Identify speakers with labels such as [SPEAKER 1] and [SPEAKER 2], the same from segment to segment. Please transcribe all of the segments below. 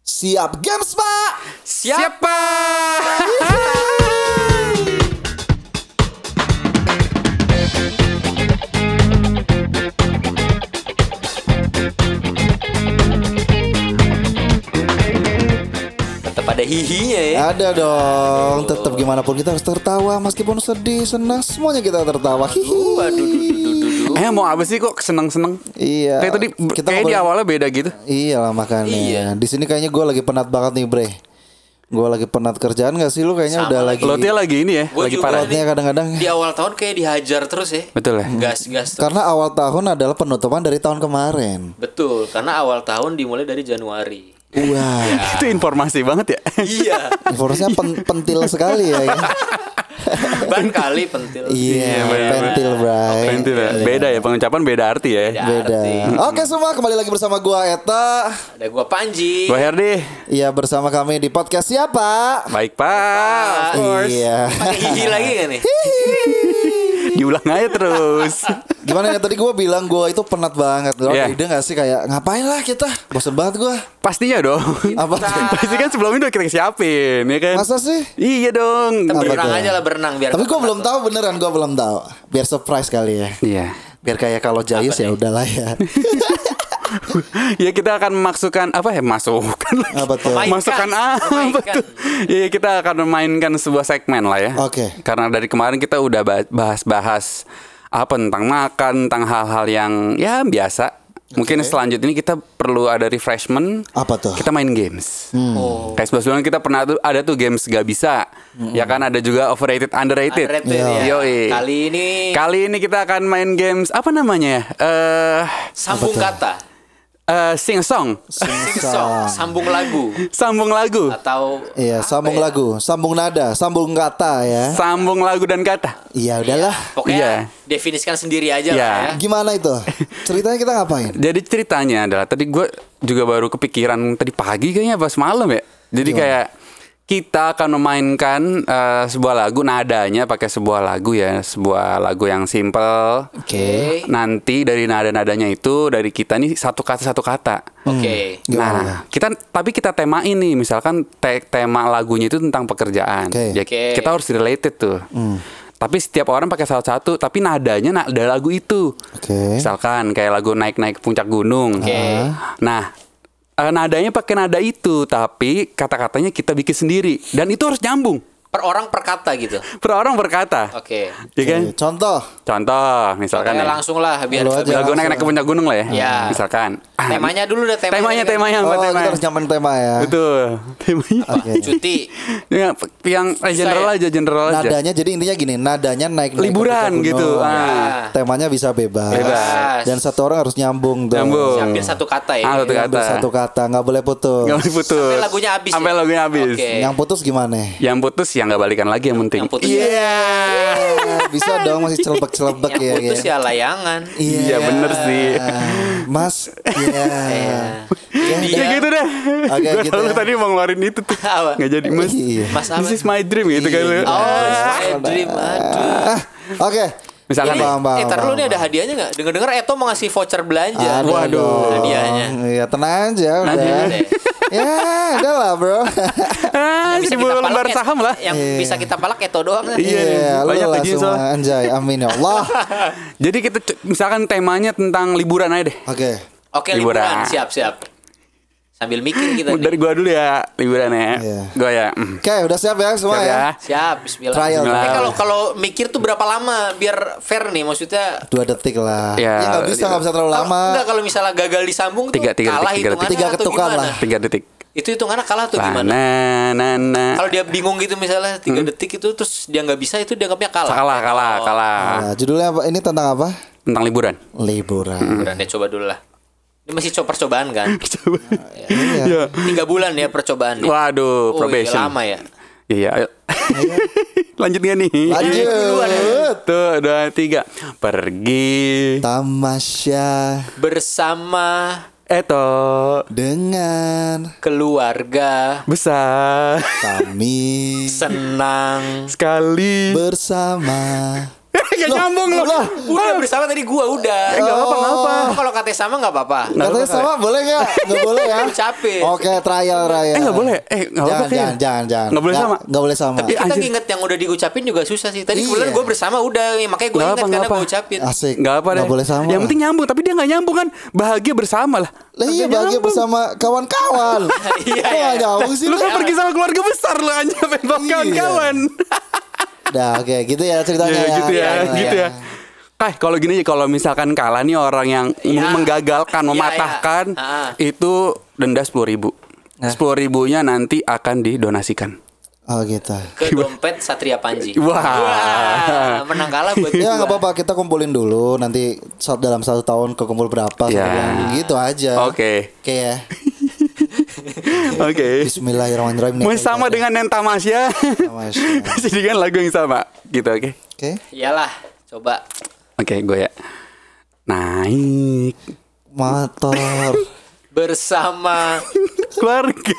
[SPEAKER 1] Siap games pak
[SPEAKER 2] Siapa? Tetap ada hihinya ya.
[SPEAKER 1] Ada dong Tetap gimana pun kita harus tertawa Meskipun sedih, senang Semuanya kita tertawa Hihi.
[SPEAKER 2] Waduh, duh, duh, duh, duh, duh.
[SPEAKER 3] Eh mau apa sih kok seneng-seneng?
[SPEAKER 1] Iya
[SPEAKER 3] Kayak tadi
[SPEAKER 1] Kita
[SPEAKER 3] kayak di
[SPEAKER 1] ngobrol-
[SPEAKER 3] awalnya beda gitu.
[SPEAKER 1] Iya lah makanya
[SPEAKER 2] Iya.
[SPEAKER 1] Di sini kayaknya gue lagi penat banget nih bre Gue lagi penat kerjaan gak sih Lu kayaknya
[SPEAKER 2] Sama
[SPEAKER 1] udah
[SPEAKER 2] lagi.
[SPEAKER 1] lagi
[SPEAKER 3] Lotnya lagi ini ya,
[SPEAKER 2] Iya. Gua
[SPEAKER 3] lagi
[SPEAKER 2] juga
[SPEAKER 3] parah.
[SPEAKER 2] nih.
[SPEAKER 1] Lotnya kadang-kadang
[SPEAKER 2] Di awal tahun kayak dihajar terus ya.
[SPEAKER 3] Betul ya?
[SPEAKER 2] Gas gas terus.
[SPEAKER 1] Karena awal tahun adalah penutupan dari tahun kemarin
[SPEAKER 2] Betul, karena awal tahun dimulai dari Januari.
[SPEAKER 1] Wah
[SPEAKER 2] Nah.
[SPEAKER 3] Itu informasi banget ya.
[SPEAKER 2] iya.
[SPEAKER 1] Informasinya pen- pentil sekali ya
[SPEAKER 2] Ban kali pentil.
[SPEAKER 1] Iya Pentil bray
[SPEAKER 3] Pentil ya. Beda ya pengucapan beda arti ya.
[SPEAKER 2] Iya, Beda.
[SPEAKER 1] Beda
[SPEAKER 2] Arti.
[SPEAKER 1] Oke semua kembali lagi bersama gua Eta
[SPEAKER 2] Ada gua Panji.
[SPEAKER 3] Gua Herdi.
[SPEAKER 1] Iya bersama kami di podcast siapa?
[SPEAKER 3] Baik Pak. Of course.
[SPEAKER 1] Iya.
[SPEAKER 2] Pakai hihi lagi gak nih?
[SPEAKER 3] Diulang aja terus.
[SPEAKER 1] Gimana ya tadi gua bilang gua itu penat banget Lo ada
[SPEAKER 3] Iya.
[SPEAKER 1] ide gak sih kayak ngapain lah kita Bosen banget gua
[SPEAKER 3] Pastinya dong.
[SPEAKER 1] Apa tuh?
[SPEAKER 3] Pasti kan sebelumnya udah kita siapin, ya kan?
[SPEAKER 1] Masa sih?
[SPEAKER 3] Iya dong.
[SPEAKER 2] Kita
[SPEAKER 1] Apa
[SPEAKER 2] berenang
[SPEAKER 1] tuh?
[SPEAKER 2] aja lah berenang biar.
[SPEAKER 1] Tapi gua belum tahu beneran gua belum tahu. Biar surprise kali ya.
[SPEAKER 3] Iya.
[SPEAKER 1] Biar kayak kalau jayus ya udahlah ya.
[SPEAKER 3] ya kita akan memasukkan apa ya masukkan lagi.
[SPEAKER 1] Apa tuh?
[SPEAKER 2] Memainkan.
[SPEAKER 3] masukkan apa
[SPEAKER 2] Memainkan.
[SPEAKER 3] tuh ya kita akan memainkan sebuah segmen lah ya
[SPEAKER 1] Oke.
[SPEAKER 3] karena dari kemarin kita udah ba- bahas-bahas apa tentang makan tentang hal-hal yang ya biasa mungkin selanjutnya ini kita perlu ada refreshment
[SPEAKER 1] Apa tuh? Hmm.
[SPEAKER 3] kita main games
[SPEAKER 2] Oh.
[SPEAKER 3] kayak sebelumnya kita pernah tuh ada tuh games gak bisa ya kan ada juga overrated underrated,
[SPEAKER 1] Iya.
[SPEAKER 2] Underrated, ya.
[SPEAKER 3] Iya. Yoi.
[SPEAKER 2] Kali ini
[SPEAKER 3] kali ini kita akan main games apa namanya ya? eh
[SPEAKER 2] sambung kata,
[SPEAKER 3] eh, sing song
[SPEAKER 2] sing song, sambung lagu
[SPEAKER 3] sambung lagu
[SPEAKER 2] atau
[SPEAKER 1] Iya,
[SPEAKER 2] apa
[SPEAKER 1] sambung
[SPEAKER 2] ya?
[SPEAKER 1] lagu, sambung nada, sambung kata ya.
[SPEAKER 3] sambung lagu dan kata
[SPEAKER 1] Iya udahlah.
[SPEAKER 2] Pokoknya
[SPEAKER 3] Iya.
[SPEAKER 2] definisikan sendiri aja
[SPEAKER 3] Iya.
[SPEAKER 2] lah ya.
[SPEAKER 1] Gimana itu? Ceritanya kita ngapain?
[SPEAKER 3] jadi ceritanya adalah tadi gue juga baru kepikiran tadi pagi kayaknya pas malam ya jadi kayak kita akan memainkan eh, sebuah lagu nadanya pakai sebuah lagu ya sebuah lagu yang simple
[SPEAKER 1] Oke.
[SPEAKER 3] nanti dari nada-nadanya itu dari kita nih satu kata satu kata
[SPEAKER 2] Oke.
[SPEAKER 3] Nah, kita tapi kita tema ini misalkan te- tema lagunya itu tentang pekerjaan.
[SPEAKER 1] Oke. Hmm.
[SPEAKER 3] Ya,
[SPEAKER 2] Oke.
[SPEAKER 3] kita harus related tuh. Tapi setiap orang pakai salah satu, tapi nadanya nada lagu itu.
[SPEAKER 1] Oke.
[SPEAKER 3] Misalkan kayak lagu naik-naik ke puncak gunung.
[SPEAKER 2] Oke.
[SPEAKER 3] Nah, eh, nadanya pakai nada itu, tapi kata-katanya kita bikin sendiri dan itu harus nyambung.
[SPEAKER 2] Per orang per kata gitu.
[SPEAKER 3] Per orang berkata.
[SPEAKER 2] Oke.
[SPEAKER 3] Ya
[SPEAKER 1] Oke, Iya,
[SPEAKER 3] kan?
[SPEAKER 1] Contoh.
[SPEAKER 3] Contoh, misalkan
[SPEAKER 2] Pokoknya
[SPEAKER 3] ya.
[SPEAKER 2] langsung lah biar
[SPEAKER 1] Lu aja.
[SPEAKER 2] biar-
[SPEAKER 3] Lagu naik-naik ke puncak gunung lah ya.
[SPEAKER 2] Iya.
[SPEAKER 3] Misalkan. Ah,
[SPEAKER 2] temanya dulu deh
[SPEAKER 3] Temanya,
[SPEAKER 2] temanya.
[SPEAKER 3] temanya,
[SPEAKER 1] Oh,
[SPEAKER 3] apa
[SPEAKER 1] kita
[SPEAKER 3] temanya?
[SPEAKER 1] harus nyaman tema ya.
[SPEAKER 3] Betul. Temanya.
[SPEAKER 1] Oke.
[SPEAKER 2] Cuti.
[SPEAKER 3] Ya, p- yang eh, general
[SPEAKER 2] ya?
[SPEAKER 3] aja, general aja.
[SPEAKER 1] Nadanya jadi intinya gini, nadanya naik naik
[SPEAKER 3] Liburan gitu, ah.
[SPEAKER 1] Oh, iya. Temanya bisa bebas.
[SPEAKER 2] Bebas.
[SPEAKER 1] Dan satu orang harus nyambung dong.
[SPEAKER 3] Nyambung.
[SPEAKER 2] Siapin satu kata ya.
[SPEAKER 3] Ah, satu
[SPEAKER 1] Ambil
[SPEAKER 3] kata.
[SPEAKER 1] Satu kata, nggak boleh putus.
[SPEAKER 3] Nggak boleh putus.
[SPEAKER 2] Sampai lagunya habis
[SPEAKER 3] Sampai
[SPEAKER 2] ya?
[SPEAKER 3] lagunya habis.
[SPEAKER 2] Oke.
[SPEAKER 1] Yang putus gimana?
[SPEAKER 3] Yang putus yang nggak balikan lagi yang penting.
[SPEAKER 2] Yang putus
[SPEAKER 3] Iya.
[SPEAKER 1] Eh, bisa dong masih celebek-celebek
[SPEAKER 2] Yang
[SPEAKER 1] ya.
[SPEAKER 2] putus
[SPEAKER 1] kayak.
[SPEAKER 2] ya layangan.
[SPEAKER 1] Iya
[SPEAKER 3] Iya, bener sih.
[SPEAKER 1] Mas, iya. Ya,
[SPEAKER 2] Iya.
[SPEAKER 3] Ya
[SPEAKER 1] dah.
[SPEAKER 3] gitu deh.
[SPEAKER 1] Oke,
[SPEAKER 3] Gue
[SPEAKER 1] gitu
[SPEAKER 3] selalu
[SPEAKER 1] ya.
[SPEAKER 3] tadi mau ngeluarin itu tuh.
[SPEAKER 2] Apa?
[SPEAKER 3] Nggak jadi mas.
[SPEAKER 1] Iya.
[SPEAKER 2] Mas apa?
[SPEAKER 3] This is my dream gitu kan.
[SPEAKER 1] Iya. Iya,
[SPEAKER 2] Oh, my dream. Aduh.
[SPEAKER 1] Ah, Oke.
[SPEAKER 3] Misalkan
[SPEAKER 2] Ini,
[SPEAKER 3] Bang,
[SPEAKER 2] eh, taruh lu nih ada hadiahnya nggak? Dengar-dengar Eto mau ngasih voucher belanja.
[SPEAKER 1] iya. Ada
[SPEAKER 3] Waduh.
[SPEAKER 1] dong.
[SPEAKER 2] Hadiahnya.
[SPEAKER 1] Iya, tenang aja udah.
[SPEAKER 3] Hadiahnya
[SPEAKER 2] deh.
[SPEAKER 1] ya, udah lah, Bro.
[SPEAKER 3] Ah,
[SPEAKER 2] Oh. Bisa
[SPEAKER 3] seribu
[SPEAKER 2] kita Ya. palak
[SPEAKER 3] lembar
[SPEAKER 2] Et-
[SPEAKER 3] saham lah.
[SPEAKER 2] Yang
[SPEAKER 1] Iya.
[SPEAKER 2] bisa kita palak Eto doang. kan?
[SPEAKER 3] Iya,
[SPEAKER 1] Iya, lu
[SPEAKER 3] banyak
[SPEAKER 1] lah
[SPEAKER 3] gajinya
[SPEAKER 1] semua
[SPEAKER 3] soalnya.
[SPEAKER 1] anjay. Amin ya Allah.
[SPEAKER 3] Jadi kita c- misalkan temanya tentang liburan aja deh.
[SPEAKER 1] Oke.
[SPEAKER 2] Oke
[SPEAKER 3] Liburan.
[SPEAKER 2] liburan. Siap siap. Sambil mikir kita. nih.
[SPEAKER 3] Dari gua dulu ya liburan ya.
[SPEAKER 1] Iya.
[SPEAKER 3] Gua ya. mm,
[SPEAKER 1] Oke, udah siap ya semua
[SPEAKER 3] siap
[SPEAKER 1] ya?
[SPEAKER 3] ya.
[SPEAKER 2] Siap. Bismillah.
[SPEAKER 1] Trial.
[SPEAKER 2] Tapi
[SPEAKER 3] Bismillah.
[SPEAKER 2] kalau kalau mikir tuh berapa lama biar fair nih maksudnya.
[SPEAKER 1] Dua detik lah.
[SPEAKER 3] Ya,
[SPEAKER 1] Ya nggak bisa,
[SPEAKER 3] iya.
[SPEAKER 1] nggak bisa terlalu
[SPEAKER 2] Kalau-
[SPEAKER 1] lama.
[SPEAKER 2] Enggak kalau misalnya gagal disambung
[SPEAKER 3] Tiga,
[SPEAKER 2] tuh
[SPEAKER 3] tiga
[SPEAKER 2] kalah
[SPEAKER 3] detik, tiga detik.
[SPEAKER 2] hitungannya
[SPEAKER 1] Tiga
[SPEAKER 2] atau
[SPEAKER 1] ketukan
[SPEAKER 2] gimana?
[SPEAKER 1] lah.
[SPEAKER 3] Tiga detik.
[SPEAKER 2] Itu hitungannya kalah atau gimana?
[SPEAKER 3] Nah, nah, nah.
[SPEAKER 2] Kalau dia bingung gitu misalnya tiga detik itu terus dia nggak bisa itu dianggapnya kalah.
[SPEAKER 3] Kalah, kalah, kalah.
[SPEAKER 1] Nah, judulnya apa? Ini tentang apa?
[SPEAKER 3] Tentang liburan.
[SPEAKER 1] Liburan.
[SPEAKER 3] Hmm.
[SPEAKER 2] Udah deh coba dulu lah. Ini masih coba percobaan kan?
[SPEAKER 1] Iya.
[SPEAKER 3] Iya.
[SPEAKER 2] Tiga bulan ya percobaan. ya?
[SPEAKER 3] Waduh,
[SPEAKER 2] Oh,
[SPEAKER 3] probation.
[SPEAKER 2] iya, lama ya.
[SPEAKER 3] Iya, ayo. Lanjut gak nih? ya.
[SPEAKER 1] Lanjut.
[SPEAKER 3] Tuh, dua, tiga. Pergi.
[SPEAKER 1] Tamasya
[SPEAKER 2] Bersama
[SPEAKER 3] Eto.
[SPEAKER 1] dengan
[SPEAKER 2] keluarga
[SPEAKER 3] Besar.
[SPEAKER 1] kami
[SPEAKER 2] senang
[SPEAKER 3] Sekali.
[SPEAKER 1] bersama
[SPEAKER 3] ya nyambung loh.
[SPEAKER 1] lah.
[SPEAKER 2] Udah bersama tadi gua udah. Oh,
[SPEAKER 3] Enggak apa-apa, enggak apa.
[SPEAKER 2] Kalau katanya sama enggak apa-apa.
[SPEAKER 1] Katanya sama boleh nggak? Nggak boleh ya?
[SPEAKER 2] Capek.
[SPEAKER 1] Oke, trial trial.
[SPEAKER 3] Eh nggak boleh. Eh nggak apa-apa.
[SPEAKER 1] Jangan,
[SPEAKER 3] kayaknya.
[SPEAKER 1] jangan, jangan, jangan.
[SPEAKER 3] Nggak boleh sama.
[SPEAKER 1] Nggak boleh sama.
[SPEAKER 3] Tapi-
[SPEAKER 2] Kita
[SPEAKER 3] Anjir.
[SPEAKER 2] nginget yang udah diucapin juga susah sih. Tadi
[SPEAKER 1] Iya.
[SPEAKER 2] kebetulan gua bersama udah, ya, makanya gua
[SPEAKER 3] Nggak
[SPEAKER 2] inget
[SPEAKER 3] apa,
[SPEAKER 2] karena
[SPEAKER 3] nggak
[SPEAKER 2] gua
[SPEAKER 3] apa.
[SPEAKER 2] ucapin.
[SPEAKER 1] Asik.
[SPEAKER 3] Nggak apa deh.
[SPEAKER 1] Nggak boleh sama.
[SPEAKER 3] Yang penting nyambung, tapi dia nggak nyambung kan. Bahagia bersama lah.
[SPEAKER 1] Lah iya
[SPEAKER 3] Tapi
[SPEAKER 1] bahagia
[SPEAKER 3] nyambung.
[SPEAKER 1] bersama kawan-kawan.
[SPEAKER 2] Iya,
[SPEAKER 1] Kok
[SPEAKER 2] iya.
[SPEAKER 1] nggak nyambung sih.
[SPEAKER 3] Lu kan pergi sama keluarga besar lu anjir pengen bawa
[SPEAKER 1] Iya.
[SPEAKER 3] kawan-kawan.
[SPEAKER 1] Nah, oke, gitu ya ceritanya
[SPEAKER 3] Iya,
[SPEAKER 1] ya.
[SPEAKER 3] gitu ya,
[SPEAKER 1] Gimana
[SPEAKER 3] gitu ya. Kai, kalau gini aja kalau misalkan kalah nih orang yang
[SPEAKER 2] Iya.
[SPEAKER 3] menggagalkan,
[SPEAKER 2] Iya,
[SPEAKER 3] mematahkan,
[SPEAKER 2] iya. Ah.
[SPEAKER 3] itu denda sepuluh ribu. Sepuluh ribunya nanti akan didonasikan.
[SPEAKER 1] Oh, gitu.
[SPEAKER 2] Ke dompet Satria Panji.
[SPEAKER 3] Wah.
[SPEAKER 2] Wah, menang kalah buat
[SPEAKER 1] Ya nggak
[SPEAKER 2] gua.
[SPEAKER 1] apa-apa kita kumpulin dulu nanti saat dalam satu tahun kekumpul berapa
[SPEAKER 3] Ya.
[SPEAKER 1] satu bulan. gitu aja.
[SPEAKER 3] Oke.
[SPEAKER 1] Oke ya.
[SPEAKER 3] Oke.
[SPEAKER 1] Bismillahirrahmanirrahim.
[SPEAKER 3] Mau sama dengan Nenta Masya.
[SPEAKER 1] Tamasya.
[SPEAKER 3] Masih dengan lagu yang sama. Gitu oke.
[SPEAKER 1] Oke.
[SPEAKER 2] Iyalah, coba.
[SPEAKER 3] Oke, gue ya. Naik
[SPEAKER 1] Motor.
[SPEAKER 2] Bersama
[SPEAKER 3] keluarga.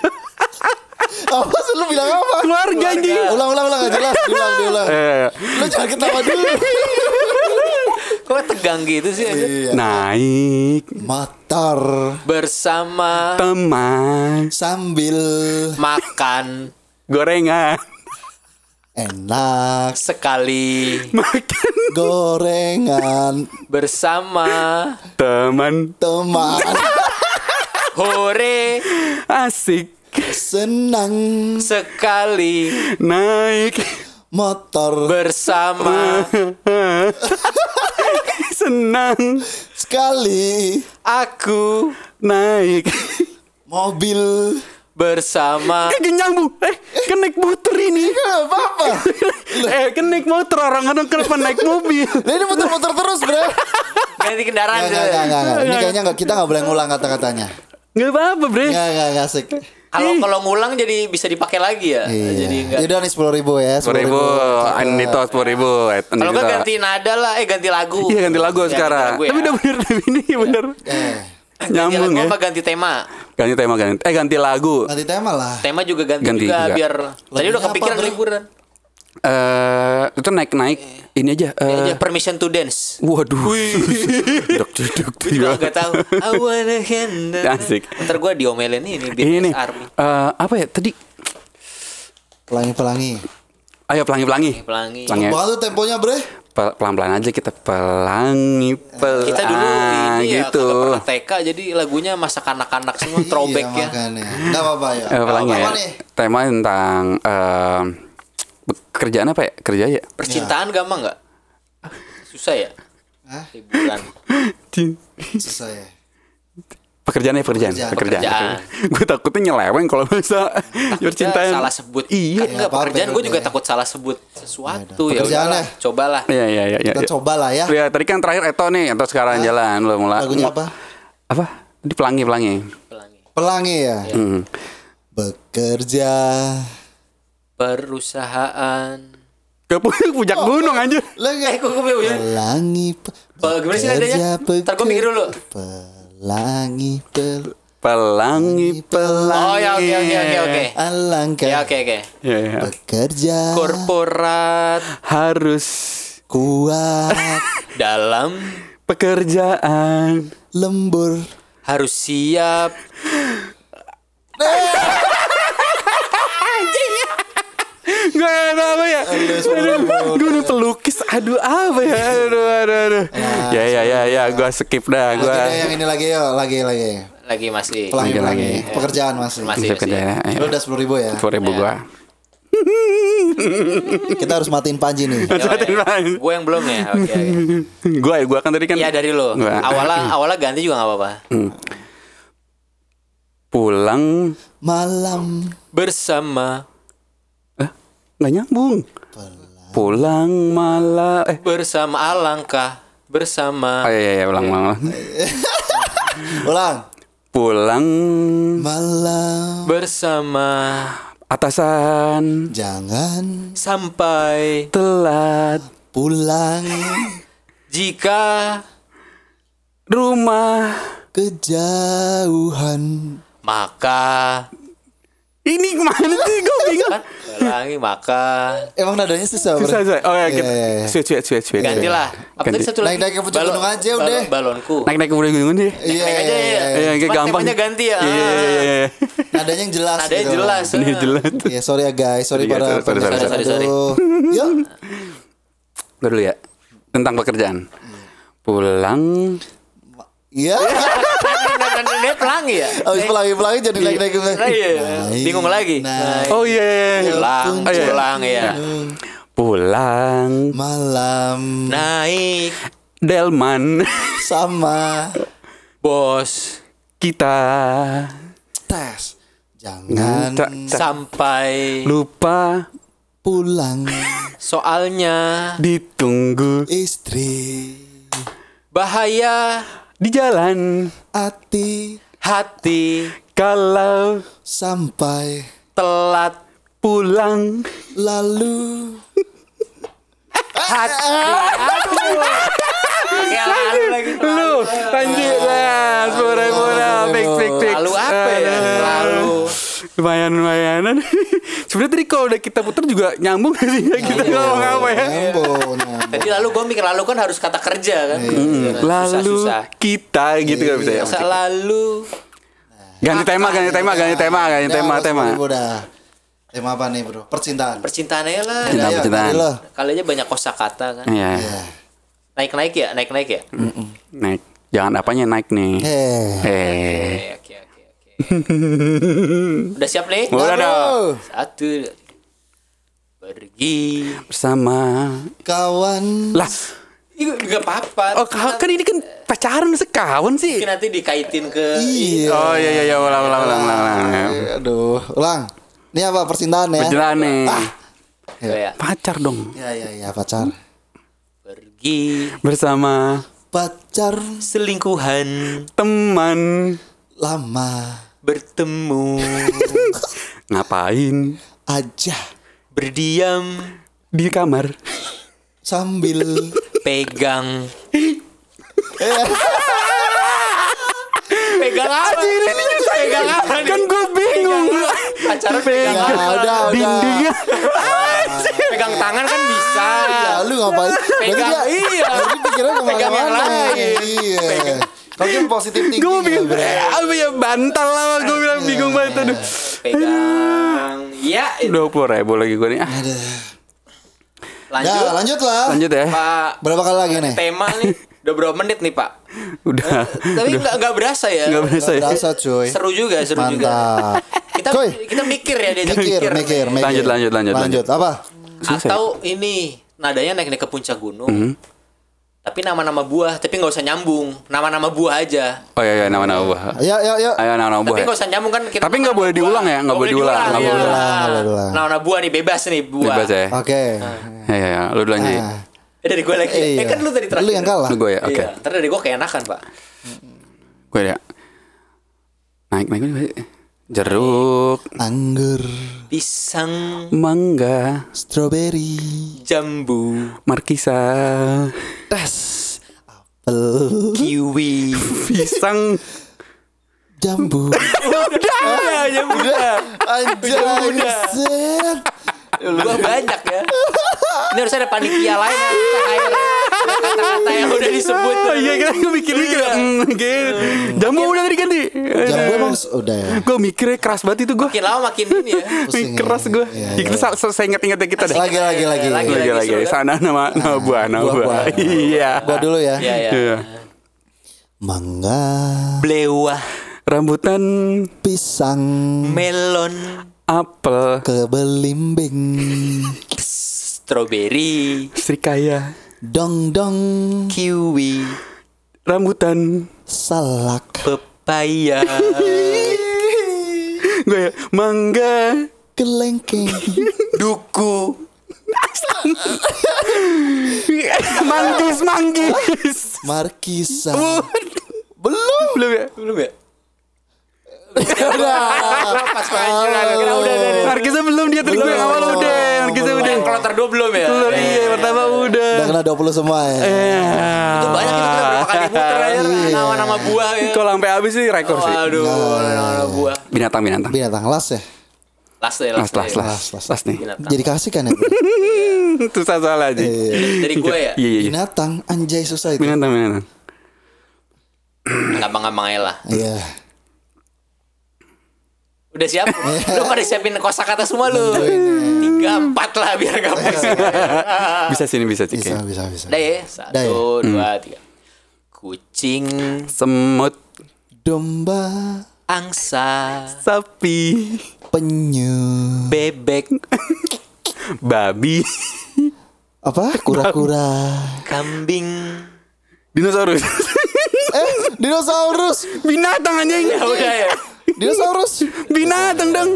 [SPEAKER 1] apa sih lu bilang apa?
[SPEAKER 3] keluarga anjing.
[SPEAKER 1] Ulang ulang ulang nggak jelas. Diulang diulang.
[SPEAKER 3] Eh,
[SPEAKER 1] Lu jangan ketawa dulu.
[SPEAKER 2] Kok tegang gitu sih aja?
[SPEAKER 1] Iya.
[SPEAKER 3] naik
[SPEAKER 1] Motor
[SPEAKER 2] Bersama
[SPEAKER 3] teman
[SPEAKER 1] sambil
[SPEAKER 2] makan
[SPEAKER 3] gorengan
[SPEAKER 1] enak
[SPEAKER 2] sekali
[SPEAKER 3] makan
[SPEAKER 1] gorengan
[SPEAKER 2] bersama
[SPEAKER 3] teman
[SPEAKER 1] teman
[SPEAKER 2] hore
[SPEAKER 3] asik
[SPEAKER 1] senang
[SPEAKER 2] sekali
[SPEAKER 3] naik
[SPEAKER 1] motor
[SPEAKER 2] bersama
[SPEAKER 3] senang
[SPEAKER 1] sekali
[SPEAKER 2] aku
[SPEAKER 3] naik
[SPEAKER 1] mobil
[SPEAKER 2] bersama
[SPEAKER 3] eh nyambung eh kenaik motor ini
[SPEAKER 1] apa apa
[SPEAKER 3] eh kenaik motor orang-orang kenapa naik mobil
[SPEAKER 1] Lah Nah, ini muter-muter terus bro
[SPEAKER 2] ganti kendaraan
[SPEAKER 1] Enggak, enggak, enggak, enggak, enggak. Ini kayaknya enggak, kita enggak boleh ngulang kata-katanya
[SPEAKER 3] nggak apa-apa bre
[SPEAKER 2] Iya.
[SPEAKER 1] Enggak, enggak, enggak asik
[SPEAKER 2] kalau kalau ngulang jadi bisa dipakai lagi ya
[SPEAKER 1] Iya.
[SPEAKER 2] jadi enggak
[SPEAKER 1] Yaudah nih 10 ribu ya 10
[SPEAKER 3] sepuluh ribu Anito sepuluh ribu Eh,
[SPEAKER 2] kalau enggak ganti nada lah eh ganti lagu
[SPEAKER 3] iya ganti lagu
[SPEAKER 2] Ya, ganti
[SPEAKER 3] sekarang
[SPEAKER 2] lagu ya. Iya.
[SPEAKER 3] tapi udah bener tapi ini bener
[SPEAKER 1] Eh,
[SPEAKER 2] Ganti
[SPEAKER 3] nyambung
[SPEAKER 2] lagu
[SPEAKER 3] ya
[SPEAKER 2] apa ganti tema
[SPEAKER 3] ganti tema ganti eh ganti lagu
[SPEAKER 1] Nanti tema lah
[SPEAKER 2] tema juga ganti,
[SPEAKER 3] Ganti
[SPEAKER 2] juga,
[SPEAKER 3] juga.
[SPEAKER 2] biar tadi
[SPEAKER 1] Lagunya
[SPEAKER 2] udah
[SPEAKER 1] apa,
[SPEAKER 2] kepikiran
[SPEAKER 1] Bro?
[SPEAKER 2] liburan
[SPEAKER 3] eh itu naik naik ini aja
[SPEAKER 2] Iya. Ini
[SPEAKER 3] eh
[SPEAKER 2] aja permission to dance
[SPEAKER 3] waduh duduk duduk
[SPEAKER 2] Gue juga gak tau I wanna hand
[SPEAKER 3] Asik.
[SPEAKER 2] Ntar gue diomelin ini
[SPEAKER 3] ini
[SPEAKER 2] BTS
[SPEAKER 3] nih
[SPEAKER 2] Army
[SPEAKER 3] eh, apa ya tadi
[SPEAKER 1] Pelangi-pelangi
[SPEAKER 3] ayo pelangi pelangi
[SPEAKER 2] Pelangi
[SPEAKER 3] Pelangi.
[SPEAKER 1] Banget tuh temponya bre
[SPEAKER 3] pelan pelan aja kita pelangi pelangi
[SPEAKER 2] Kita dulu ini ya
[SPEAKER 3] gitu
[SPEAKER 2] kagak pernah TK Jadi lagunya masa kanak-kanak semua throwback
[SPEAKER 1] iya,
[SPEAKER 2] ya
[SPEAKER 1] makanya. Enggak apa-apa ya
[SPEAKER 3] Eh, pelangi
[SPEAKER 1] Apa
[SPEAKER 3] ya
[SPEAKER 1] nih?
[SPEAKER 3] tema tentang eh, kerjaan apa ya kerja ya
[SPEAKER 2] Percintaan gampang gak? Susah ya?
[SPEAKER 1] Hah?
[SPEAKER 2] Liburan
[SPEAKER 1] Susah ya
[SPEAKER 3] pekerjaan ya pekerjaan
[SPEAKER 1] Pekerjaan.
[SPEAKER 3] pekerjaan,
[SPEAKER 2] Pekerjaan.
[SPEAKER 3] gue takutnya nyeleweng kalau bisa
[SPEAKER 2] Kita
[SPEAKER 3] percintaan
[SPEAKER 2] salah sebut
[SPEAKER 3] iya
[SPEAKER 2] Kan enggak
[SPEAKER 1] apa-apa,
[SPEAKER 2] pekerjaan
[SPEAKER 1] ya
[SPEAKER 2] Gue
[SPEAKER 1] udah
[SPEAKER 2] juga
[SPEAKER 1] ya.
[SPEAKER 2] takut salah sebut
[SPEAKER 1] Ya
[SPEAKER 2] Sesuatu
[SPEAKER 1] udah.
[SPEAKER 2] ya
[SPEAKER 1] Pekerjaan
[SPEAKER 2] udahlah,
[SPEAKER 1] ya.
[SPEAKER 2] Cobalah
[SPEAKER 3] Iya iya iya. iya.
[SPEAKER 1] Kita coba lah ya
[SPEAKER 3] Ya tadi kan terakhir Eto nih Eto sekarang jalan lo mulai.
[SPEAKER 1] Lagunya apa?
[SPEAKER 3] Apa? Di pelangi pelangi.
[SPEAKER 2] Pelangi
[SPEAKER 1] Pelangi ya
[SPEAKER 3] Hmm.
[SPEAKER 1] Bekerja
[SPEAKER 2] Perusahaan
[SPEAKER 3] Ke pu- puncak
[SPEAKER 1] Oh.
[SPEAKER 3] gunung anjir.
[SPEAKER 1] Lah
[SPEAKER 2] Eh
[SPEAKER 1] enggak
[SPEAKER 2] kok gue bilang
[SPEAKER 1] Pelangi pe-
[SPEAKER 2] Pe- gimana sih nadanya?
[SPEAKER 1] bekerja,
[SPEAKER 2] Ntar gua mikir dulu.
[SPEAKER 1] bekerja. Pelangi pel
[SPEAKER 3] Pelangi pelangi.
[SPEAKER 2] Oh ya oke oke oke oke
[SPEAKER 1] Alangkah
[SPEAKER 2] Ya oke oke
[SPEAKER 3] Ya, ya.
[SPEAKER 1] Bekerja
[SPEAKER 2] Korporat
[SPEAKER 3] Harus
[SPEAKER 1] Kuat
[SPEAKER 2] Dalam
[SPEAKER 3] pekerjaan.
[SPEAKER 1] Lembur
[SPEAKER 2] harus siap
[SPEAKER 3] Gak ada apa ya. Gue udah pelukis. Aduh apa ya. Aduh aduh aduh. Ya ya ya ya. Gue skip dah.
[SPEAKER 1] Lagi
[SPEAKER 3] Gue
[SPEAKER 1] deh, yang ini lagi yuk Lagi lagi
[SPEAKER 2] lagi masih
[SPEAKER 1] Pelangi
[SPEAKER 3] Lagi,
[SPEAKER 1] pelangi
[SPEAKER 3] lagi.
[SPEAKER 1] Pekerjaan masih
[SPEAKER 2] Masih.
[SPEAKER 3] skip aja.
[SPEAKER 1] Lu udah 10 ribu ya
[SPEAKER 3] Sepuluh ribu gue.
[SPEAKER 1] Kita harus matiin Panji nih
[SPEAKER 2] gue yang belum ya oke oke.
[SPEAKER 3] Gue gue kan tadi kan.
[SPEAKER 2] Iya dari lo
[SPEAKER 3] Gua.
[SPEAKER 2] awalnya awalnya ganti juga nggak apa-apa
[SPEAKER 3] Pulang.
[SPEAKER 1] Malam
[SPEAKER 2] bersama
[SPEAKER 3] Eh, nggak nyambung. Pulang malah eh
[SPEAKER 2] bersama alangkah
[SPEAKER 3] oh
[SPEAKER 2] bersama
[SPEAKER 3] iya iya, iya ulang ulang. ulang.
[SPEAKER 1] Ulang
[SPEAKER 3] Pulang
[SPEAKER 1] Malam
[SPEAKER 2] bersama
[SPEAKER 3] atasan
[SPEAKER 1] Jangan
[SPEAKER 2] sampai
[SPEAKER 3] telat
[SPEAKER 1] pulang
[SPEAKER 2] jika
[SPEAKER 3] rumah
[SPEAKER 1] kejauhan
[SPEAKER 2] maka
[SPEAKER 3] Ini kemana sih? Gue bingung.
[SPEAKER 2] kan ulangi maka
[SPEAKER 1] Emang nadanya susah
[SPEAKER 3] Susah,
[SPEAKER 1] bro?
[SPEAKER 3] susah. Oh ya,
[SPEAKER 1] Iya,
[SPEAKER 3] kita
[SPEAKER 1] iya, iya.
[SPEAKER 3] switch, switch, switch, switch.
[SPEAKER 2] ganti lah apa
[SPEAKER 3] Ganti.
[SPEAKER 2] tadi satu lagi
[SPEAKER 1] Naik-naik ke puncak gunung aja udah.
[SPEAKER 2] balon- balonku
[SPEAKER 3] Naik-naik ke Budi Gunung
[SPEAKER 1] Iya,
[SPEAKER 3] deh.
[SPEAKER 2] naik aja
[SPEAKER 1] iya,
[SPEAKER 2] ya
[SPEAKER 1] iya.
[SPEAKER 3] Iya, kayak
[SPEAKER 2] Cuma
[SPEAKER 3] gampang.
[SPEAKER 2] temanya ganti ya
[SPEAKER 3] Iya, iya, iya, iya.
[SPEAKER 1] Nadanya yang jelas
[SPEAKER 2] ada yang
[SPEAKER 1] gitu.
[SPEAKER 2] jelas
[SPEAKER 3] Ini jelas.
[SPEAKER 1] Iya sorry ya guys Sorry
[SPEAKER 3] Iya,
[SPEAKER 1] para
[SPEAKER 3] sorry, sorry,
[SPEAKER 1] pendengar.
[SPEAKER 2] sorry, sorry.
[SPEAKER 1] Aduh. Yuk
[SPEAKER 3] Gue dulu ya. Tentang pekerjaan. Pulang
[SPEAKER 1] Iya
[SPEAKER 2] Nah, dia pelangi ya
[SPEAKER 1] Abis Oh, pelangi-pelangi jadi naik-naik
[SPEAKER 2] Nah, iya. bingung lagi
[SPEAKER 1] Nah.
[SPEAKER 3] Oh iya, iya, iya.
[SPEAKER 2] pulang
[SPEAKER 1] Oh, iya.
[SPEAKER 2] pulang ya
[SPEAKER 3] Pulang
[SPEAKER 1] Malam
[SPEAKER 2] Nah. naik
[SPEAKER 3] Delman
[SPEAKER 1] Sama
[SPEAKER 2] bos
[SPEAKER 3] Kita
[SPEAKER 1] Tes Jangan
[SPEAKER 3] Tak- tak
[SPEAKER 2] sampai
[SPEAKER 3] Lupa
[SPEAKER 1] pulang
[SPEAKER 2] soalnya
[SPEAKER 3] Ditunggu
[SPEAKER 1] Istri
[SPEAKER 2] bahaya
[SPEAKER 3] Di jalan
[SPEAKER 1] Hati
[SPEAKER 2] hati
[SPEAKER 3] Kalau
[SPEAKER 1] Sampai
[SPEAKER 2] telat
[SPEAKER 3] Pulang
[SPEAKER 1] Lalu
[SPEAKER 2] hati Aduh. Ya, lalu lagi
[SPEAKER 3] Lu Anjir lah Pura-pura Fix fix fix
[SPEAKER 2] lalu apa ya
[SPEAKER 3] Aduh.
[SPEAKER 2] lalu
[SPEAKER 3] Lumayan lumayanan Sebenernya tadi kalau udah kita puter juga Nyambung gak sih Kita
[SPEAKER 2] Iya.
[SPEAKER 3] ngomong apa ya
[SPEAKER 1] Nyambung nyambung.
[SPEAKER 2] Tadi lalu gue mikir lalu kan harus kata kerja kan.
[SPEAKER 3] Hmm, Lalu
[SPEAKER 2] susah, Iya.
[SPEAKER 3] kita gitu kan bisa ya.
[SPEAKER 2] susah. Masa lalu
[SPEAKER 3] Ganti tema, ganti tema, ganti tema, ganti
[SPEAKER 1] Udah,
[SPEAKER 3] tema,
[SPEAKER 1] harus
[SPEAKER 3] tema.
[SPEAKER 1] beli, Udah Tema apa nih bro? Percintaan
[SPEAKER 2] percintaan Nah. aja lah.
[SPEAKER 3] Cinta
[SPEAKER 1] Ayo,
[SPEAKER 3] percintaan.
[SPEAKER 1] dari lo.
[SPEAKER 2] Kali aja banyak kosakata kan.
[SPEAKER 3] Iya.
[SPEAKER 1] Iya.
[SPEAKER 2] Naik naik ya, naik naik ya.
[SPEAKER 3] Naik. Jangan apanya naik nih.
[SPEAKER 2] Iya.
[SPEAKER 1] Eh.
[SPEAKER 3] Eh.
[SPEAKER 2] Oke oke oke. oke. Udah siap nih?
[SPEAKER 3] Udah dong.
[SPEAKER 1] Aduh,
[SPEAKER 2] Satu. Pergi.
[SPEAKER 3] Bersama.
[SPEAKER 1] Kawan
[SPEAKER 3] Lah,
[SPEAKER 2] Itu juga apa-apa.
[SPEAKER 3] oh ka- kan ini kan pacaran sekawan sih.
[SPEAKER 2] Mungkin nanti dikaitin ke
[SPEAKER 1] Iya
[SPEAKER 3] Oh iya iya iya ulang ulang ulang ulang. ulang.
[SPEAKER 1] Aduh Ulang Ini apa percintaan ya?
[SPEAKER 3] Berjalan nih.
[SPEAKER 2] Ah. kayak
[SPEAKER 3] Pacar dong.
[SPEAKER 1] Ya ya ya pacar
[SPEAKER 2] pergi
[SPEAKER 3] Bersama
[SPEAKER 1] Pacar
[SPEAKER 2] selingkuhan
[SPEAKER 3] teman.
[SPEAKER 1] lama
[SPEAKER 2] bertemu
[SPEAKER 3] Ngapain
[SPEAKER 1] aja
[SPEAKER 2] berdiam
[SPEAKER 3] di kamar?
[SPEAKER 1] sambil
[SPEAKER 2] pegang pegang apa?
[SPEAKER 3] Anjir, ini nyusahin.
[SPEAKER 2] pegang apa nih?
[SPEAKER 3] Kan gue bingung.
[SPEAKER 2] Pacaran pegang
[SPEAKER 3] Pegang
[SPEAKER 1] apa? Ya, Udah, udah.
[SPEAKER 3] dindingnya.
[SPEAKER 2] pegang tangan kan bisa
[SPEAKER 1] ya lu ngapain Berarti
[SPEAKER 2] pegang
[SPEAKER 1] dia-
[SPEAKER 2] iya
[SPEAKER 1] berarti pikiran
[SPEAKER 2] Pegang yang
[SPEAKER 1] kemana-mana
[SPEAKER 2] lain.
[SPEAKER 1] Iya Kau kan positif tinggi
[SPEAKER 3] Gue mau bilang apa ya bantal lah. Gue bilang bingung banget. Aduh.
[SPEAKER 2] pegang iya
[SPEAKER 3] Dua puluh ribu lagi gue nih. Ah,
[SPEAKER 1] Ya
[SPEAKER 2] lanjut Eh.
[SPEAKER 1] lanjut lah
[SPEAKER 3] lanjut ya.
[SPEAKER 2] pak
[SPEAKER 1] Berapa kali lagi nih?
[SPEAKER 2] tema nih udah berapa menit nih pak
[SPEAKER 3] Udah.
[SPEAKER 2] tapi nggak nggak berasa ya
[SPEAKER 3] Enggak berasa ya.
[SPEAKER 1] Berasa cuy
[SPEAKER 2] seru juga seru juga
[SPEAKER 1] Mantap
[SPEAKER 2] kita
[SPEAKER 1] Coy.
[SPEAKER 2] kita mikir ya dia
[SPEAKER 1] Mikir, mikir, mikir.
[SPEAKER 3] Lanjut, lanjut, lanjut,
[SPEAKER 1] Lanjut, apa?
[SPEAKER 3] Susah ya?
[SPEAKER 2] atau ini nadanya naik naik ke puncak gunung
[SPEAKER 3] Mhm.
[SPEAKER 2] tapi nama-nama buah tapi nggak usah nyambung nama-nama buah aja
[SPEAKER 3] Oh iya iya nama-nama buah.
[SPEAKER 1] Ayo, ayo, ayo
[SPEAKER 3] Ayo nama-nama buah.
[SPEAKER 2] tapi
[SPEAKER 3] ya.
[SPEAKER 2] nggak usah nyambung kan kita
[SPEAKER 3] Tapi nggak boleh diulang ya, nggak boleh diulang, nggak
[SPEAKER 1] boleh
[SPEAKER 2] nggak boleh
[SPEAKER 1] diulang. Nggak boleh
[SPEAKER 2] diulang.
[SPEAKER 1] diulang.
[SPEAKER 2] nama-nama buah nih bebas nih buah
[SPEAKER 3] Bebas ya.
[SPEAKER 1] Oke
[SPEAKER 3] Iya iya iya. Lu dulu aja. ya.
[SPEAKER 1] Nah,
[SPEAKER 2] Eh, dari gue lagi
[SPEAKER 1] iya.
[SPEAKER 2] eh kan lu tadi terakhir
[SPEAKER 1] Lu yang kalah
[SPEAKER 3] Lu gue ya. Oke.
[SPEAKER 2] iya ntar dari gue keenakan pak
[SPEAKER 3] Gue ya. Naik naik naik. Jeruk,
[SPEAKER 1] Anggur
[SPEAKER 2] pisang
[SPEAKER 3] mangga,
[SPEAKER 1] Strawberry
[SPEAKER 2] jambu
[SPEAKER 3] markisa,
[SPEAKER 1] Tes Apel
[SPEAKER 2] kiwi
[SPEAKER 3] pisang.
[SPEAKER 1] Jambu Ah,
[SPEAKER 2] udah Iya, jambu udah
[SPEAKER 1] Anjay Set
[SPEAKER 2] buah banyak ya ini harusnya ada panitia lain yang kita hire ya. kata-kata yang udah disebut
[SPEAKER 3] Ah, Iya kan gue mikir-mikir. Hmm, gitu. Jamu udah tadi ganti.
[SPEAKER 1] Jambu emang s- udah ya
[SPEAKER 3] Gue mikirnya keras banget itu gue.
[SPEAKER 2] makin lama makin ini ya
[SPEAKER 1] Pusing ya.
[SPEAKER 3] Keras gue.
[SPEAKER 1] Iya, iya.
[SPEAKER 3] Kita sa- sa- saya ingat-ingat ya kita deh.
[SPEAKER 1] Lagi, lagi, lagi Nah,
[SPEAKER 2] Lagi.
[SPEAKER 3] lagi lagi
[SPEAKER 2] suruh, kan?
[SPEAKER 3] sana nama nama buah nama
[SPEAKER 1] buah,
[SPEAKER 3] buah,
[SPEAKER 1] buah.
[SPEAKER 3] iya
[SPEAKER 1] Gua dulu ya
[SPEAKER 2] ya ya
[SPEAKER 3] Iya.
[SPEAKER 1] Mangga
[SPEAKER 2] blewah
[SPEAKER 3] rambutan
[SPEAKER 1] Pisang
[SPEAKER 2] melon
[SPEAKER 3] apel
[SPEAKER 1] Kebelimbing
[SPEAKER 2] stroberi
[SPEAKER 3] srikaya
[SPEAKER 1] Dong dong
[SPEAKER 2] kiwi
[SPEAKER 3] rambutan
[SPEAKER 1] Salak
[SPEAKER 2] pepaya
[SPEAKER 3] gue ya, mangga
[SPEAKER 1] Kelengkeng
[SPEAKER 2] duku
[SPEAKER 3] manggis manggis
[SPEAKER 1] Markisa
[SPEAKER 3] belum belum ya
[SPEAKER 2] belum ya
[SPEAKER 3] Narkisa belum dia tadi gue yang awal udah Narkisa udah
[SPEAKER 2] yang kloter dua belum ya
[SPEAKER 3] Keluar, iya pertama udah
[SPEAKER 1] Udah kena 20 semua ya
[SPEAKER 2] itu banyak itu kita berapa kali muter
[SPEAKER 3] Ah,
[SPEAKER 2] aja
[SPEAKER 3] iya.
[SPEAKER 2] nama-nama buah ya
[SPEAKER 3] kalau sampai habis sih rekor sih
[SPEAKER 2] Waduh, nama-nama buah
[SPEAKER 3] binatang binatang
[SPEAKER 1] Binatang las ya
[SPEAKER 2] Last day, last,
[SPEAKER 3] Last, last,
[SPEAKER 2] day.
[SPEAKER 3] last,
[SPEAKER 1] Las, las,
[SPEAKER 3] last nih.
[SPEAKER 2] Binatang.
[SPEAKER 1] Jadi kasih kan ya? bro?
[SPEAKER 3] Susah salah aja.
[SPEAKER 2] Dari gue
[SPEAKER 3] Iya,
[SPEAKER 2] ya,
[SPEAKER 3] iya, iya.
[SPEAKER 1] Binatang anjay susah itu.
[SPEAKER 3] Binatang, binatang.
[SPEAKER 2] gampang-gampang aja lah.
[SPEAKER 1] Iya.
[SPEAKER 2] Udah siap? lu pada siapin kosakata semua lu. Tiga, empat lah biar gak pusing.
[SPEAKER 3] Bisa sini, bisa cik.
[SPEAKER 1] Bisa, bisa, bisa.
[SPEAKER 2] Udah
[SPEAKER 1] Udah
[SPEAKER 2] ya,
[SPEAKER 1] ya?
[SPEAKER 2] satu, dua, tiga. Kucing,
[SPEAKER 3] Semut,
[SPEAKER 1] Domba,
[SPEAKER 2] angsa,
[SPEAKER 3] sapi,
[SPEAKER 1] penyu,
[SPEAKER 2] bebek,
[SPEAKER 3] babi,
[SPEAKER 1] apa? Kura-kura.
[SPEAKER 2] kambing.
[SPEAKER 3] dinosaurus.
[SPEAKER 1] eh, dinosaurus.
[SPEAKER 3] binatang anjing.
[SPEAKER 2] Ya udah ya.
[SPEAKER 1] Dinosaurus.
[SPEAKER 3] Binatang dong.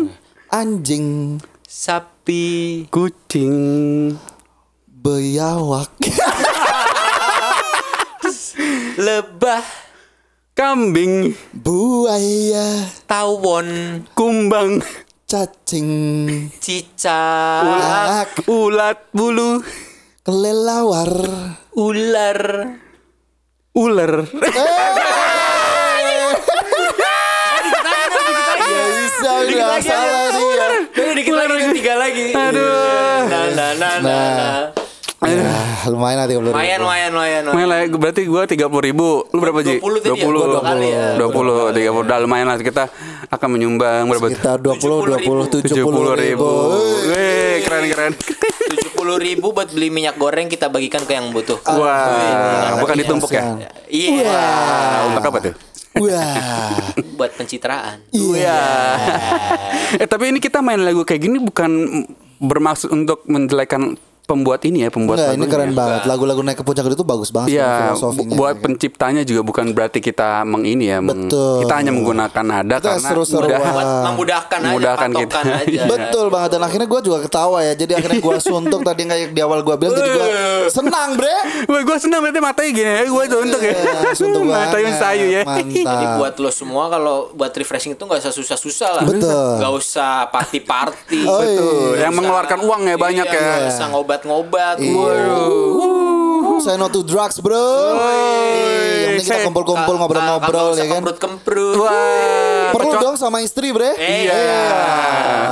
[SPEAKER 1] Anjing,
[SPEAKER 2] Sapi,
[SPEAKER 3] Kucing,
[SPEAKER 1] biawak,
[SPEAKER 2] lebah,
[SPEAKER 3] kambing,
[SPEAKER 1] buaya,
[SPEAKER 2] tawon,
[SPEAKER 3] kumbang,
[SPEAKER 1] cacing,
[SPEAKER 2] cicak,
[SPEAKER 1] ulat,
[SPEAKER 3] ulat bulu,
[SPEAKER 1] kelelawar.
[SPEAKER 2] ular.
[SPEAKER 3] ular.
[SPEAKER 1] Gak bisa,
[SPEAKER 2] Dikit
[SPEAKER 1] udah
[SPEAKER 2] lagi,
[SPEAKER 1] salah
[SPEAKER 2] ayo.
[SPEAKER 1] nih ya.
[SPEAKER 2] Udah dikit lagi, udah tiga lagi.
[SPEAKER 3] Aduh.
[SPEAKER 2] Nah, nah, nah, nah. nah.
[SPEAKER 1] Ya, lumayan nanti kalau
[SPEAKER 2] Lumayan, lumayan, lumayan. lumayan.
[SPEAKER 3] Malah berarti gua 30 ribu Lu berapa Ji?
[SPEAKER 2] 20
[SPEAKER 3] 20
[SPEAKER 2] tadi ya? Gua dua kali ya.
[SPEAKER 3] 20 30 Udah lumayan lah Kita akan menyumbang Berapa
[SPEAKER 1] kita 20 20 70
[SPEAKER 3] 70 ribu
[SPEAKER 1] ribu.
[SPEAKER 3] Wih keren keren
[SPEAKER 2] 70 ribu buat beli minyak goreng kita bagikan ke yang butuh.
[SPEAKER 3] Wah Bukan
[SPEAKER 1] iya,
[SPEAKER 3] ditumpuk ya
[SPEAKER 1] kasihan.
[SPEAKER 2] Iya.
[SPEAKER 3] Ah, Untuk apa tuh?
[SPEAKER 1] Wah.
[SPEAKER 2] Buat pencitraan.
[SPEAKER 1] Iya.
[SPEAKER 3] eh tapi ini kita main lagu kayak gini bukan bermaksud untuk menjelekan pembuat ini ya pembuat
[SPEAKER 1] Enggak, ini
[SPEAKER 3] lagunya.
[SPEAKER 1] keren banget. Lagu-lagu naik ke puncak itu bagus banget sebenarnya
[SPEAKER 3] Iya, bu-
[SPEAKER 1] filosofinya.
[SPEAKER 3] buat penciptanya juga bukan berarti kita meng ini ya, meng-
[SPEAKER 1] Betul.
[SPEAKER 3] kita hanya menggunakan nada
[SPEAKER 1] Kita
[SPEAKER 3] karena
[SPEAKER 1] seru-seruan.
[SPEAKER 3] mudah
[SPEAKER 2] Buat memudahkan aja,
[SPEAKER 3] Memudahkan
[SPEAKER 2] patokan
[SPEAKER 3] kita.
[SPEAKER 2] aja.
[SPEAKER 1] Betul banget dan akhirnya gue juga ketawa ya. Jadi akhirnya gue suntuk tadi kayak di awal gue bilang jadi gue senang bre.
[SPEAKER 3] Wah, gue senang berarti matanya gini ya, gue untuk ya.
[SPEAKER 1] Iya, suntuk
[SPEAKER 3] matanya
[SPEAKER 1] banget.
[SPEAKER 3] sayu ya.
[SPEAKER 1] Mantap.
[SPEAKER 2] Jadi buat lo semua kalau buat refreshing itu nggak usah susah-susah lah.
[SPEAKER 1] Betul.
[SPEAKER 2] Nggak usah party-party.
[SPEAKER 1] Oh, iya.
[SPEAKER 3] Betul, yang mengeluarkan uang ya banyak
[SPEAKER 2] Iya,
[SPEAKER 3] ya.
[SPEAKER 2] nggak usah ngobat-ngobat.
[SPEAKER 1] Oh, Saya no to drugs bro. Yang penting kita
[SPEAKER 3] saya-
[SPEAKER 1] kumpul-kumpul ngobrol-ngobrol ya kan.
[SPEAKER 2] Kemprut-kemprut.
[SPEAKER 3] Wah,
[SPEAKER 1] Perlu
[SPEAKER 3] kecuali-
[SPEAKER 1] dong sama istri bre.
[SPEAKER 2] Iya.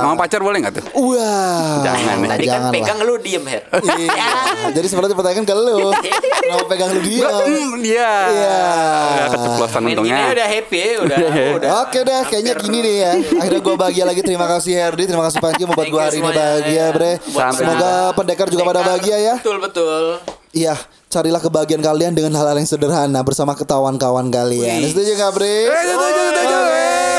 [SPEAKER 3] Ah, Mau pacar boleh nggak tuh?
[SPEAKER 1] Wah.
[SPEAKER 3] Jangan,
[SPEAKER 1] Jangan,
[SPEAKER 2] Tadi kan
[SPEAKER 1] lah.
[SPEAKER 2] pegang lu diem her.
[SPEAKER 1] Iya. Jadi sebenarnya pertanyaan ke lu. Kenapa pegang lu dia?
[SPEAKER 3] Gua- mm, Iya.
[SPEAKER 1] Iya.
[SPEAKER 3] Ya, Keceplosan
[SPEAKER 2] Main gini
[SPEAKER 3] untungnya.
[SPEAKER 2] aja udah happy ya, udah. udah.
[SPEAKER 1] Oke dah, kayaknya gini deh ya. Akhirnya gue bahagia lagi. Terima kasih Herdi, terima kasih Panji membuat
[SPEAKER 2] Thank
[SPEAKER 1] gue
[SPEAKER 2] you
[SPEAKER 1] hari ini
[SPEAKER 2] semuanya.
[SPEAKER 1] bahagia, bre.
[SPEAKER 2] Buat
[SPEAKER 3] Sampai
[SPEAKER 1] Semoga pendekar juga pada
[SPEAKER 2] Pendekar.
[SPEAKER 1] bahagia ya.
[SPEAKER 2] Betul betul.
[SPEAKER 1] Iya, carilah kebahagiaan kalian dengan hal-hal yang sederhana bersama ketahuan kawan kalian.
[SPEAKER 2] Wih. Eh,
[SPEAKER 1] Setuju nggak, bre?
[SPEAKER 3] Eh, setuju, setuju. Eh, goodbye,